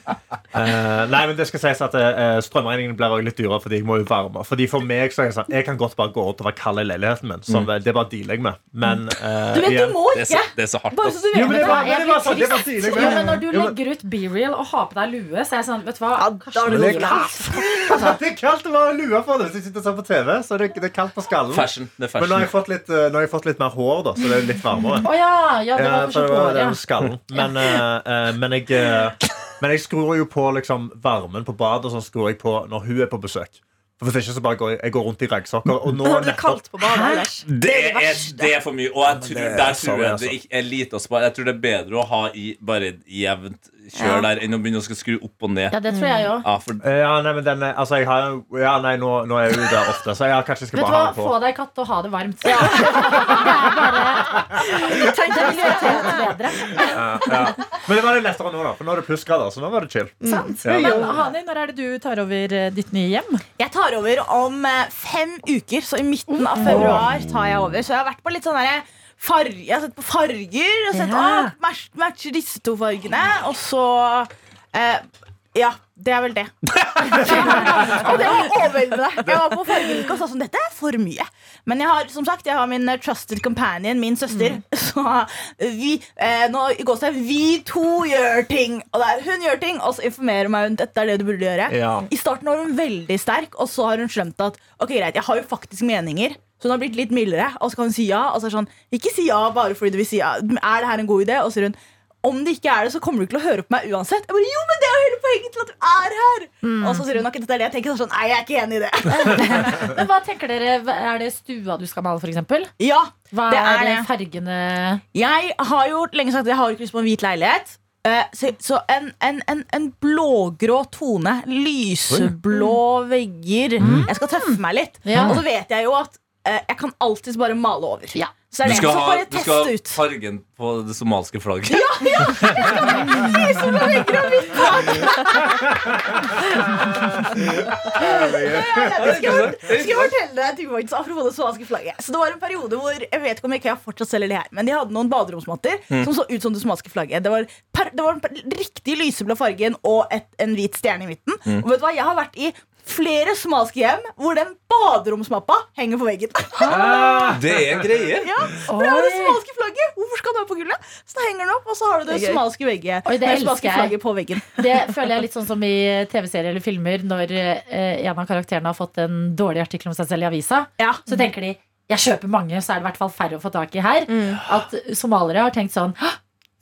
Speaker 6: Eh, nei, men det skal sies at uh, strømregningen blir også litt dyrere fordi jeg må jo varme. Fordi For meg så er jeg sånn Jeg kan godt bare gå rundt og være kald i leiligheten min. Som,
Speaker 3: Mm.
Speaker 6: Det bare dealer jeg med. Men eh,
Speaker 2: Du vet,
Speaker 6: igjen-
Speaker 2: du må
Speaker 3: Det er så,
Speaker 2: ikke!
Speaker 3: det er så hardt.
Speaker 2: Bare
Speaker 3: ass.
Speaker 2: så du
Speaker 6: Jo,
Speaker 2: vet
Speaker 6: men
Speaker 2: det.
Speaker 6: det var,
Speaker 2: Jeg
Speaker 6: men det var,
Speaker 2: blir
Speaker 6: sånn, det var
Speaker 2: trist.
Speaker 6: dealer
Speaker 2: Jo,
Speaker 6: jeg med.
Speaker 2: men når du
Speaker 6: Jo, men-
Speaker 2: legger ut B-reel og har på deg lue, så er jeg sånn, vet du hva
Speaker 5: Ja, da er det
Speaker 6: Det er
Speaker 5: noe galt.
Speaker 6: Det er kaldt å være lua på det hvis jeg sitter og ser på TV. Så det, det er kaldt på skallen.
Speaker 3: Fashion. Det er
Speaker 6: Men nå har,
Speaker 3: fashion.
Speaker 6: jeg fått litt, eh, nå har jeg fått litt mer hår, da, så det er litt varmere.
Speaker 2: Å ja, ja, det
Speaker 6: Ja,
Speaker 2: var
Speaker 6: for
Speaker 2: kanskje
Speaker 6: det
Speaker 2: på
Speaker 6: var det
Speaker 2: året.
Speaker 6: var skallen. Men, eh, eh, men jeg eh, Men jeg skrur jo på liksom, varmen på badet og sånn skrur jeg på når hun er på besøk. For Hvis ikke så bare går jeg, jeg går rundt i regnsokker. Og nå
Speaker 5: Nå er det
Speaker 6: nettopp
Speaker 5: kaldt på badet ellers.
Speaker 3: Det er, det er for mye. Og jeg tror,
Speaker 6: det er
Speaker 3: der
Speaker 6: så
Speaker 3: tror
Speaker 6: mye,
Speaker 3: jeg
Speaker 6: altså.
Speaker 3: det ikke er lite å spare. Jeg tror det er bedre å ha i bare jevnt kjør der enn å begynne å skal skru opp og ned.
Speaker 2: Ja, det tror jeg òg.
Speaker 3: Ja, for
Speaker 6: Eh, Ja, nei, men den er, altså, jeg har, jo- ja, nei, nå, nå er jeg jo der ofte, så jeg kanskje skal
Speaker 2: Vet du
Speaker 6: bare ha
Speaker 2: hva,
Speaker 6: den
Speaker 2: få
Speaker 6: på.
Speaker 2: deg katt og ha det varmt. Det er bare Det vil gjøre det bedre.
Speaker 6: Ja. Men det var litt lettere nå, da, for nå er det plussgrader. Så nå var det chill. Ja.
Speaker 2: Men Hani, når er det du tar over eh, ditt nye hjem?
Speaker 4: Jeg tar over om eh, fem uker, så i midten av februar tar jeg over. Så jeg har vært på litt sånn derre farger. Jeg har sett på farger og sett
Speaker 2: Ja.
Speaker 4: «Å, match, matcher disse to fargene. Og så eh, Ja, det er vel det. og det var overveldende. Jeg var på fargerik og sa sånn Dette er for mye. Men jeg har som sagt, jeg har min eh, trusted companion, min søster. Så vi eh, nå i gåsehud, vi to gjør ting. Og det er, hun gjør ting, og så informerer hun meg om dette er det du burde gjøre.
Speaker 6: Ja.
Speaker 4: I starten var hun veldig sterk, og så har hun skjønt at Ok, greit, jeg har jo faktisk meninger. Så hun har blitt litt mildere, og så kan hun si ja. Og så er det sånn, ikke si ja bare fordi du vil si ja. Er det her en god idé? Og så sier hun om det ikke er det, så kommer du ikke til å høre på meg uansett. Jeg bare, jo, men det er jo hele poenget til at du er her Og så sier hun nok dette er det. Jeg tenker sånn, nei, jeg er ikke enig i det.
Speaker 2: Men hva tenker dere, Er det stua du skal male, f.eks.?
Speaker 4: ja,
Speaker 2: Hva
Speaker 4: Det
Speaker 2: er,
Speaker 4: er det.
Speaker 2: fargene
Speaker 4: Jeg har jo lenge sagt at jeg har ikke lyst på en hvit leilighet. Eh, Så, så en, en, en, en blågrå tone. Lyseblå vegger. Jeg skal tøffe meg litt.
Speaker 2: Mm. Ja.
Speaker 4: Og så vet jeg jo at eh, jeg kan alltids bare male over.
Speaker 2: Ja.
Speaker 4: Så
Speaker 3: du
Speaker 4: det er det.
Speaker 3: skal
Speaker 4: Så
Speaker 3: ha
Speaker 4: bare
Speaker 3: du skal ha
Speaker 4: test ut.
Speaker 3: fargen på det somaliske flagget.
Speaker 4: Jeg skal, skal jeg fortelle deg til Voids, apropos det svanske flagget. Så det var en periode hvor jeg vet ikke om IKEA fortsatt selger det her, men de hadde noen baderomsmatter
Speaker 5: Mm.
Speaker 4: som så ut som det somaliske flagget. Det var, per, det var den per- riktig lyseblå fargen og et, en hvit stjerne i midten.
Speaker 5: Mm.
Speaker 4: Og vet du hva, jeg har vært i flere somaliske hjem hvor den baderomsmappa henger på veggen.
Speaker 3: Det er en greie.
Speaker 4: ja, for det er jo det somaliske flagget. Hvorfor skal den være på gullet? Så da henger den opp, og så har du
Speaker 5: Det
Speaker 4: det,
Speaker 5: er gøy.
Speaker 4: somaliske vegget.
Speaker 2: Oi, det
Speaker 4: med
Speaker 2: elsker
Speaker 4: somaliske
Speaker 2: jeg.
Speaker 4: flagget på veggen.
Speaker 2: Det føler jeg er litt sånn som i TV-serier eller filmer når eh, en av karakterene har fått en dårlig artikkel om seg selv i avisa.
Speaker 4: Ja.
Speaker 2: Så tenker de jeg kjøper mange, så er det i hvert fall færre å få tak i her.
Speaker 4: Mm.
Speaker 2: At somaliere har tenkt sånn «Hå!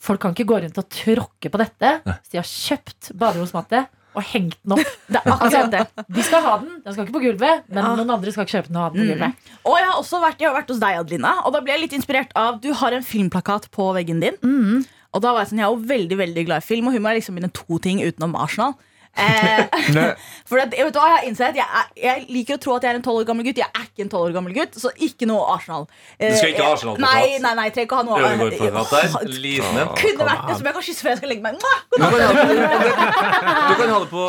Speaker 2: Folk kan ikke gå rundt og tråkke på dette. Så de har kjøpt baderomsmatte og hengt den opp. Altså,
Speaker 4: Det er akkurat det. Ah.
Speaker 2: De skal ha den, den skal ikke på gulvet, men noen andre skal ikke kjøpe den og ha
Speaker 4: Mm.
Speaker 2: den på gulvet.
Speaker 4: Og jeg har også vært, jeg har vært hos deg, Adelina. Og da ble jeg litt inspirert av Du har en filmplakat på veggen din.
Speaker 2: Mm.
Speaker 4: Og da var jeg sånn, jeg er jo veldig veldig glad i film, og hun er liksom mine to ting utenom Arsenal. Eh,
Speaker 6: Nei.
Speaker 4: for det, vet du hva, Jeg har innsett jeg, er, jeg liker å tro at jeg er en 12 år gammel gutt. Jeg er ikke en 12 år gammel gutt, så ikke noe Arsenal. Eh,
Speaker 3: Du skal ikke ha
Speaker 4: jeg-
Speaker 3: Arsenal-plakat.
Speaker 4: Nei, nei, nei, jeg trenger ikke ha noe
Speaker 3: Ødegaard-plakat
Speaker 4: Åh,
Speaker 3: der. Liten en.
Speaker 4: Kunne vært det, som jeg kan kysse før jeg skal legge meg. Mwah!
Speaker 3: Du kan ha det,
Speaker 4: Ah.
Speaker 3: du kan ha det på,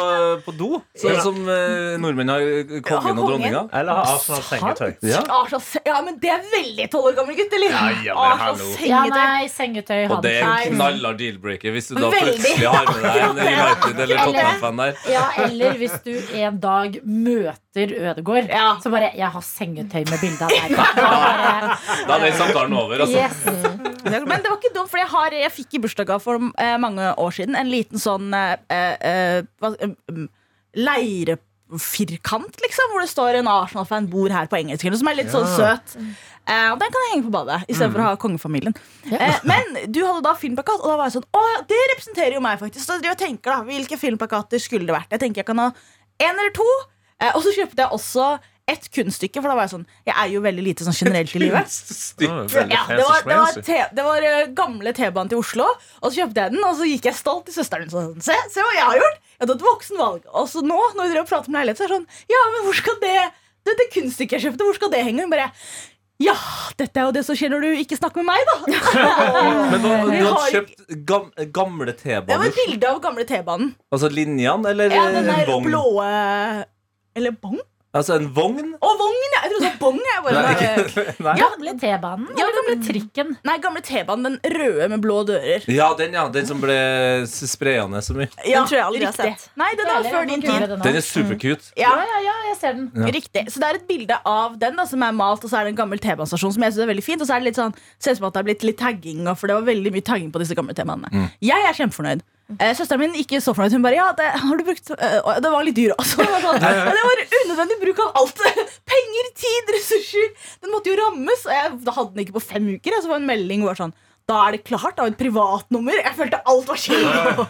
Speaker 3: på do, sånn som eh, nordmenn har kongen og dronninga.
Speaker 6: Eller ha Arsenal sengetøy.
Speaker 3: Ja.
Speaker 4: Arsenal, se- ja, men det er veldig 12 år gammel gutt, eller?
Speaker 6: ja, men
Speaker 4: Arsenal
Speaker 6: hallo.
Speaker 4: sengetøy.
Speaker 2: Ja, nei, sengetøy, ha
Speaker 3: Og det
Speaker 2: det.
Speaker 3: er
Speaker 4: Nei.
Speaker 3: en knallar deal-breaker hvis du da
Speaker 4: Veldig.
Speaker 3: plutselig har med deg en United eller Tottenham-fan der.
Speaker 2: Ja, eller hvis du en dag møter Ødegård,
Speaker 4: Ja.
Speaker 2: så bare 'Jeg har sengetøy med bilde av deg'. Bare,
Speaker 3: Da er den samtalen over. Altså.
Speaker 2: yes.
Speaker 4: Men det var ikke dumt, for jeg, har, jeg fikk i bursdagsgave for eh, mange år siden en liten sånn eh, eh, hva- eh, mm, leirefirkant, liksom, hvor det står en Arsenal-fan bor her på engelsk, eller noe som er litt sånn søt. Eh, og den kan jeg henge på badet, istedenfor for å ha kongefamilien. Eh, men du hadde da filmplakat, og da var jeg sånn Å, det representerer jo meg, faktisk. Så jeg driver og tenker da, hvilke filmplakater skulle det vært? Jeg tenker jeg kan ha én eller to. Eh, og så kjøpte jeg også et kunststykke, for da var jeg sånn Jeg er jo veldig lite sånn generelt i livet.
Speaker 3: Stygt.
Speaker 4: Ja, det var, det
Speaker 6: altså.
Speaker 4: var, te, det var eh, gamle T-banen til Oslo, og så kjøpte jeg den. Og så gikk jeg stolt til søsteren min og sa sånn, se, se hva jeg har gjort! Jeg hadde et voksenvalg. Og så nå, når vi drev og prater om leilighet, så er det sånn Ja, men hvor skal det Dette kunststykket jeg kjøpte, hvor skal det henge? Hun bare Ja, dette er jo det som skjer når du ikke snakker med meg, da.
Speaker 3: Men da, du
Speaker 4: Vi
Speaker 3: hadde
Speaker 4: har-
Speaker 3: kjøpt gam, gamle
Speaker 4: Det var
Speaker 3: T-baner?
Speaker 4: et bilde av gamle T-banen.
Speaker 3: Altså linjene, eller
Speaker 4: Ja, den
Speaker 3: en
Speaker 4: der
Speaker 3: vogn?
Speaker 4: blå Eller bong?
Speaker 3: Altså en vogn?
Speaker 4: Å, vogn! ja. Jeg trodde det var bong. Jeg bare,
Speaker 3: Nei,
Speaker 4: eh,
Speaker 3: ikke- Nei.
Speaker 2: Gamle T-banen
Speaker 4: Ja,
Speaker 2: eller gamle trikken?
Speaker 4: nei, gamle T-banen. Den røde med blå dører.
Speaker 3: Ja, den ja, den som ble sprayende så mye.
Speaker 4: Ja,
Speaker 5: Den tror jeg aldri jeg har
Speaker 4: riktig.
Speaker 5: sett.
Speaker 4: Nei, den er før din tid.
Speaker 3: Den er supercute.
Speaker 4: Ja.
Speaker 2: Ja, ja, jeg ser den.
Speaker 3: Ja.
Speaker 4: Riktig. Så det er et bilde av den da, som er malt, og så er det en gammel T-banestasjon som jeg synes er veldig fint. Og så er det litt sånn, ser ut som at det er blitt litt tagging, og- for det var veldig mye tagging på disse gamle T-banene. Jeg er kjempefornøyd. Eh, søsteren min ikke så fornøyd. Hun bare ja, det har du brukt eh, og Det var litt dyr, altså. Det var, sånn, men det var unødvendig bruk av alt. Penger, tid, ressurser. Den måtte jo rammes. Og jeg, da hadde den ikke på fem uker. Jeg, så var det en melding hvor det var sånn da da er det klart. Da er det et privatnummer. Jeg følte alt var kjipt.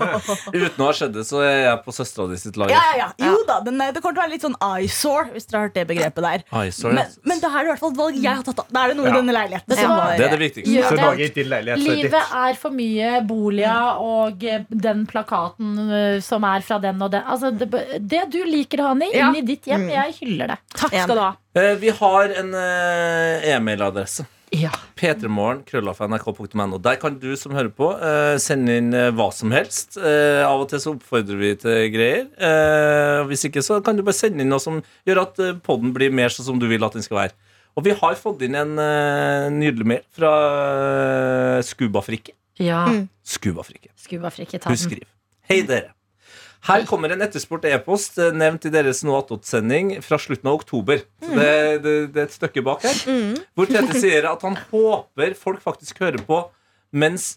Speaker 3: Uten å ha skjedd det, så er jeg på søstera di sitt lag.
Speaker 4: Ja, ja, ja. Jo da, den, det kommer til å være litt sånn eyesore, hvis dere har hørt det begrepet der.
Speaker 3: Ai, sorry.
Speaker 4: Men, men det her er i hvert fall et valg jeg har tatt. av. Da er det noe i
Speaker 6: Ja.
Speaker 4: denne leiligheten.
Speaker 2: Vet du
Speaker 4: som
Speaker 2: hva?
Speaker 4: var-
Speaker 3: det er det viktigste.
Speaker 2: Gjør
Speaker 6: Så
Speaker 2: det.
Speaker 6: Norge i din leilighet, så er ditt.
Speaker 2: Livet er for mye boliger og eh, den plakaten eh, som er fra den og den. Altså, det, det du liker, Hani,
Speaker 4: Ja. Mm.
Speaker 2: inni ditt hjem. Jeg hyller det. Takk skal du ha.
Speaker 3: Eh, Vi har en eh, e-mailadresse.
Speaker 2: Ja.
Speaker 3: p3morgen.krøllalfa.nrk.no. Der kan du som hører på, eh, sende inn eh, hva som helst. Eh, av og til så oppfordrer vi til greier. Eh, hvis ikke, så kan du bare sende inn noe som gjør at eh, podden blir mer sånn som du vil at den skal være. Og vi har fått inn en eh, nydelig mail fra eh, Skubafrikke.
Speaker 2: ja.
Speaker 4: Mm.
Speaker 3: Skubafrikke.
Speaker 2: Skubafrikk i
Speaker 3: Hun
Speaker 2: tannen.
Speaker 3: skriver Hei dere her kommer en etterspurt e-post eh, nevnt i deres Noatot-sending fra slutten av oktober. Så det, det, det er et stykke bak her. Hvor Tete sier at han håper folk faktisk hører på mens,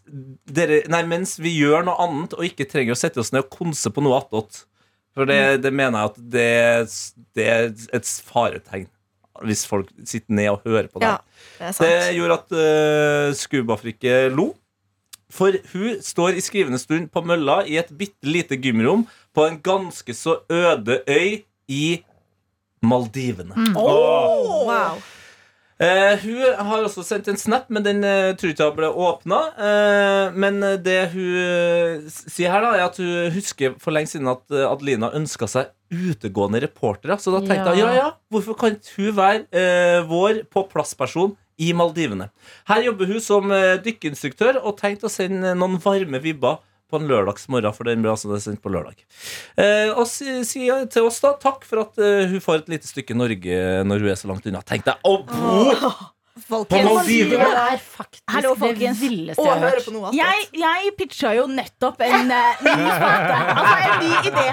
Speaker 3: dere, nei, mens vi gjør noe annet og ikke trenger å sette oss ned og konse på noe attåt. For det, det mener jeg at det, det er et faretegn hvis folk sitter ned og hører på det.
Speaker 5: Ja,
Speaker 3: her.
Speaker 5: det er
Speaker 3: Det
Speaker 5: sant.
Speaker 3: gjorde at uh, Skubafrikke lo. For hun står i skrivende stund på mølla i et bitte lite gymrom på en ganske så øde øy i Maldivene.
Speaker 4: Mm.
Speaker 5: Åh, wow.
Speaker 3: Eh, hun har også sendt en snap, men den eh, tror ikke jeg ble åpna. Eh, men det hun eh, s- sier her, da, er at hun husker for lenge siden at eh, Adelina ønska seg utegående reportere. Så da tenkte hun
Speaker 2: Ja.
Speaker 3: ja. ja hvorfor kan ikke hun være eh, vår på plass-person i Maldivene? Her jobber hun som eh, dykkeinstruktør og tenkte å sende noen varme vibber på en lørdagsmorgen, for den ble altså sendt på lørdag. Eh, og si, si til oss, da, takk for at eh, hun får et lite stykke Norge når hun er så langt unna. Tenk deg å bo på
Speaker 2: Det
Speaker 3: Maldivene!
Speaker 2: er faktisk
Speaker 4: Hallo,
Speaker 2: det
Speaker 4: folkens.
Speaker 2: villeste
Speaker 5: Og
Speaker 2: jeg har
Speaker 5: høre
Speaker 2: hørt.
Speaker 5: på noe
Speaker 4: Jeg,
Speaker 5: attåt.
Speaker 4: jeg pitcha jo nettopp en eh, ny spalte. Altså en ny idé.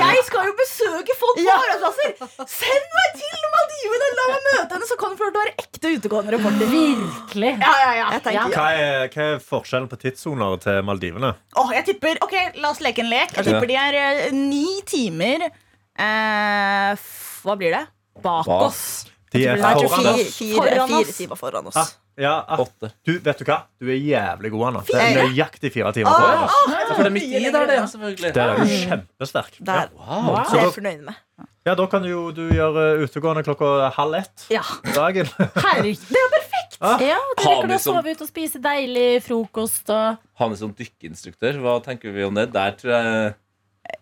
Speaker 4: Jeg skal jo besøke folk på arbeidsplasser! Send meg til Maldivene! La meg møte henne, så kan hun få lov til å være ekte utegående reporter.
Speaker 2: Virkelig.
Speaker 4: Ja, ja, ja.
Speaker 5: Jeg tenker
Speaker 6: Hva er, hva er forskjellen på tidssoner til Maldivene?
Speaker 4: Åh, jeg tipper, ok, La oss leke en lek. Jeg tipper de er eh, ni timer eh, f- Hva blir det? Bak
Speaker 3: Bak.
Speaker 4: oss.
Speaker 6: De er
Speaker 5: ja.
Speaker 6: foran
Speaker 5: Fire,
Speaker 6: oss.
Speaker 5: fire,
Speaker 4: Foran oss.
Speaker 5: fire timer foran
Speaker 6: Ah,
Speaker 5: oss.
Speaker 6: ja, ah,
Speaker 3: Åtte.
Speaker 6: du, vet du hva? Du er jævlig god, Anna. Det er nøyaktig fire timer. foran oss.
Speaker 3: altså. For det er midt i der, det, selvfølgelig.
Speaker 6: Der er du kjempesterk. Ja.
Speaker 5: Der.
Speaker 3: Wow.
Speaker 5: Det er jeg fornøyd med.
Speaker 6: ja, da kan du jo du gjøre eh, utegående klokka halv ett
Speaker 4: Ja.
Speaker 6: dagen.
Speaker 4: Herregud, det er jo perfekt!
Speaker 2: Ja, du
Speaker 3: Har
Speaker 2: rekker
Speaker 3: vi
Speaker 2: å
Speaker 3: som-
Speaker 2: sove ut og spise deilig frokost og
Speaker 3: Han er som dykkeinstruktør. Hva tenker vi om det? Der tror jeg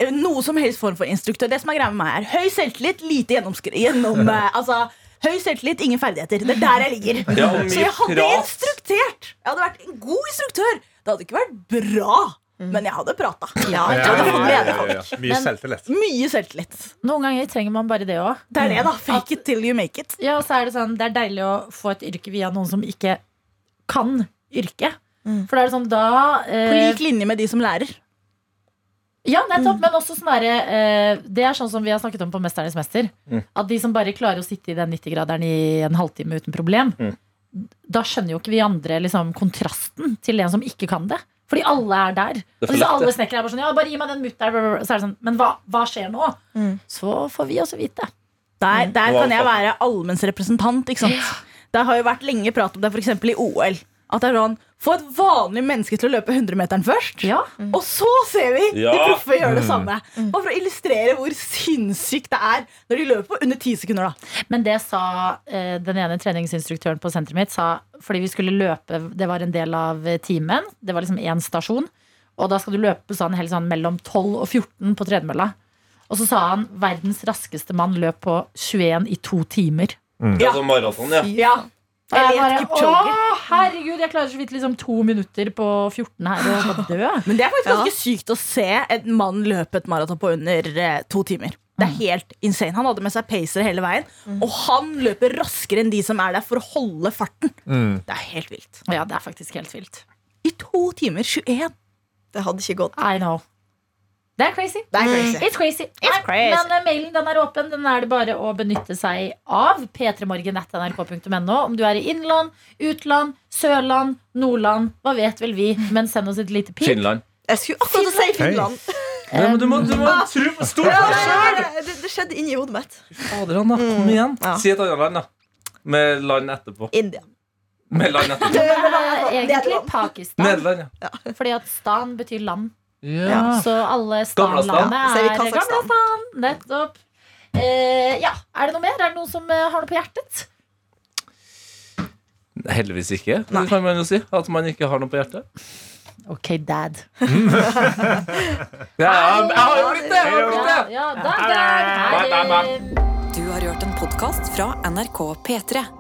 Speaker 4: Noe som helst form for instruktør. Det som er greia med meg, er høy selvtillit, lite gjennomskri... Gjennom, eh, altså, høy selvtillit, ingen ferdigheter. Det er der jeg ligger.
Speaker 3: Ja, og mye
Speaker 4: Så jeg hadde
Speaker 3: prat.
Speaker 4: instruktert. Jeg hadde vært en god instruktør. Det hadde ikke vært bra, men jeg hadde prata. Ja, jeg
Speaker 6: Ja,
Speaker 4: hadde fått
Speaker 6: ja,
Speaker 4: glede
Speaker 6: ja,
Speaker 4: av det.
Speaker 6: ja, ja. Mye selvtillit.
Speaker 4: Mye selvtillit.
Speaker 2: Noen ganger trenger man bare det òg.
Speaker 4: Det er det, da. Fake it till you make it.
Speaker 2: Ja, og så er det sånn, det er deilig å få et yrke via noen som ikke kan yrket. For da er det sånn, da
Speaker 4: Mm. På
Speaker 2: eh,
Speaker 4: lik linje med de som lærer.
Speaker 2: Ja, nettopp,
Speaker 3: Mm.
Speaker 2: men også sånn derre eh, Det er sånn som vi har snakket om på Mesternes mester.
Speaker 3: Mm.
Speaker 2: At de som bare klarer å sitte i den 90-graderen i en halvtime uten problem,
Speaker 3: Mm.
Speaker 2: da skjønner jo ikke vi andre liksom, kontrasten til en som ikke kan det. Fordi alle er der.
Speaker 3: er
Speaker 2: Og
Speaker 3: for
Speaker 2: disse
Speaker 3: lett,
Speaker 2: alle
Speaker 3: det.
Speaker 2: snekkere er bare sånn Ja, bare gi meg den mutteren. blah, blah, blah. Så er det sånn, men hva, hva skjer nå?
Speaker 3: Mm.
Speaker 2: Så får vi også vite.
Speaker 4: Der, der
Speaker 3: Wow,
Speaker 4: kan jeg
Speaker 3: fuck.
Speaker 4: være allmennsrepresentant. Ikke sant? Det har jo vært lenge prat om det, f.eks. i OL. At det er sånn, Få et vanlig menneske til å løpe 100-meteren først,
Speaker 2: Ja.
Speaker 4: og så ser vi
Speaker 3: Ja.
Speaker 4: de proffe gjøre det samme. Bare for å illustrere hvor sinnssykt det er når de løper på under 10 sekunder. da
Speaker 2: Men det sa eh, den ene treningsinstruktøren på senteret mitt. Sa, fordi vi skulle løpe, det var en del av eh, timen. Det var liksom én stasjon. Og da skal du løpe sånn, helt sånn mellom 12 og 14 på tredemølla. Og så sa han verdens raskeste mann løp på 21 i to timer.
Speaker 3: Det er sånn maraton, ja.
Speaker 4: Ja.
Speaker 2: Og
Speaker 4: Eller
Speaker 2: jeg
Speaker 4: et
Speaker 2: bare,
Speaker 4: Kipchoge.
Speaker 2: Å, herregud, jeg klarer så vidt liksom to minutter på 14 her og skal dø.
Speaker 4: Men det er faktisk ganske sykt å se en mann løpe et maraton på under eh, to timer. Det er helt insane. Han hadde med seg pacere hele veien, og han løper raskere enn de som er der, for å holde farten. Det er helt vilt.
Speaker 2: Ja, det er faktisk helt vilt.
Speaker 4: I to timer 21.
Speaker 5: Det hadde ikke gått.
Speaker 2: I know. Det er crazy.
Speaker 4: Det er crazy.
Speaker 2: It's crazy. Nei,
Speaker 4: crazy.
Speaker 2: Men eh, mailen den er åpen. Den er det bare å benytte seg av. p3morgen.nrk.no. Om du er i innland, utland, sørland, nordland, hva vet vel vi. Men send oss et lite pip.
Speaker 3: Finland.
Speaker 5: Jeg skulle akkurat si Finland.
Speaker 3: Nei, men du må, du må tro på stol på deg
Speaker 5: Nei,
Speaker 3: sjøl!
Speaker 5: Det, det skjedde inni hodet mitt.
Speaker 3: Mm. Fader, Anna. Kom igjen.
Speaker 5: Ja.
Speaker 3: Si et annet land, da. Med land etterpå.
Speaker 5: India.
Speaker 3: Mellom nettopp.
Speaker 2: Det
Speaker 5: er
Speaker 2: er Eh, egentlig
Speaker 5: Nederland.
Speaker 2: Pakistan,
Speaker 3: Nederland, ja.
Speaker 2: fordi at stan betyr land.
Speaker 3: ja.
Speaker 2: Så alle
Speaker 3: Gamla stan.
Speaker 2: stanlandene
Speaker 5: Så er vi
Speaker 2: er
Speaker 5: Kasakhstan.
Speaker 2: Gamlastan. Nettopp. Eh, ja, Er det noe mer? Er det noen som eh, har noe på hjertet?
Speaker 3: Heldigvis ikke, det kan man jo si. At man ikke har noe på hjertet.
Speaker 2: Ok, dad.
Speaker 3: Ja, jeg har jo blitt det! Jeg har jo blitt
Speaker 2: Ja,
Speaker 3: det.
Speaker 2: ja, dad, dad.
Speaker 3: Bye, bye,
Speaker 2: Her, eh,
Speaker 1: Du har hørt en podkast fra NRK P3.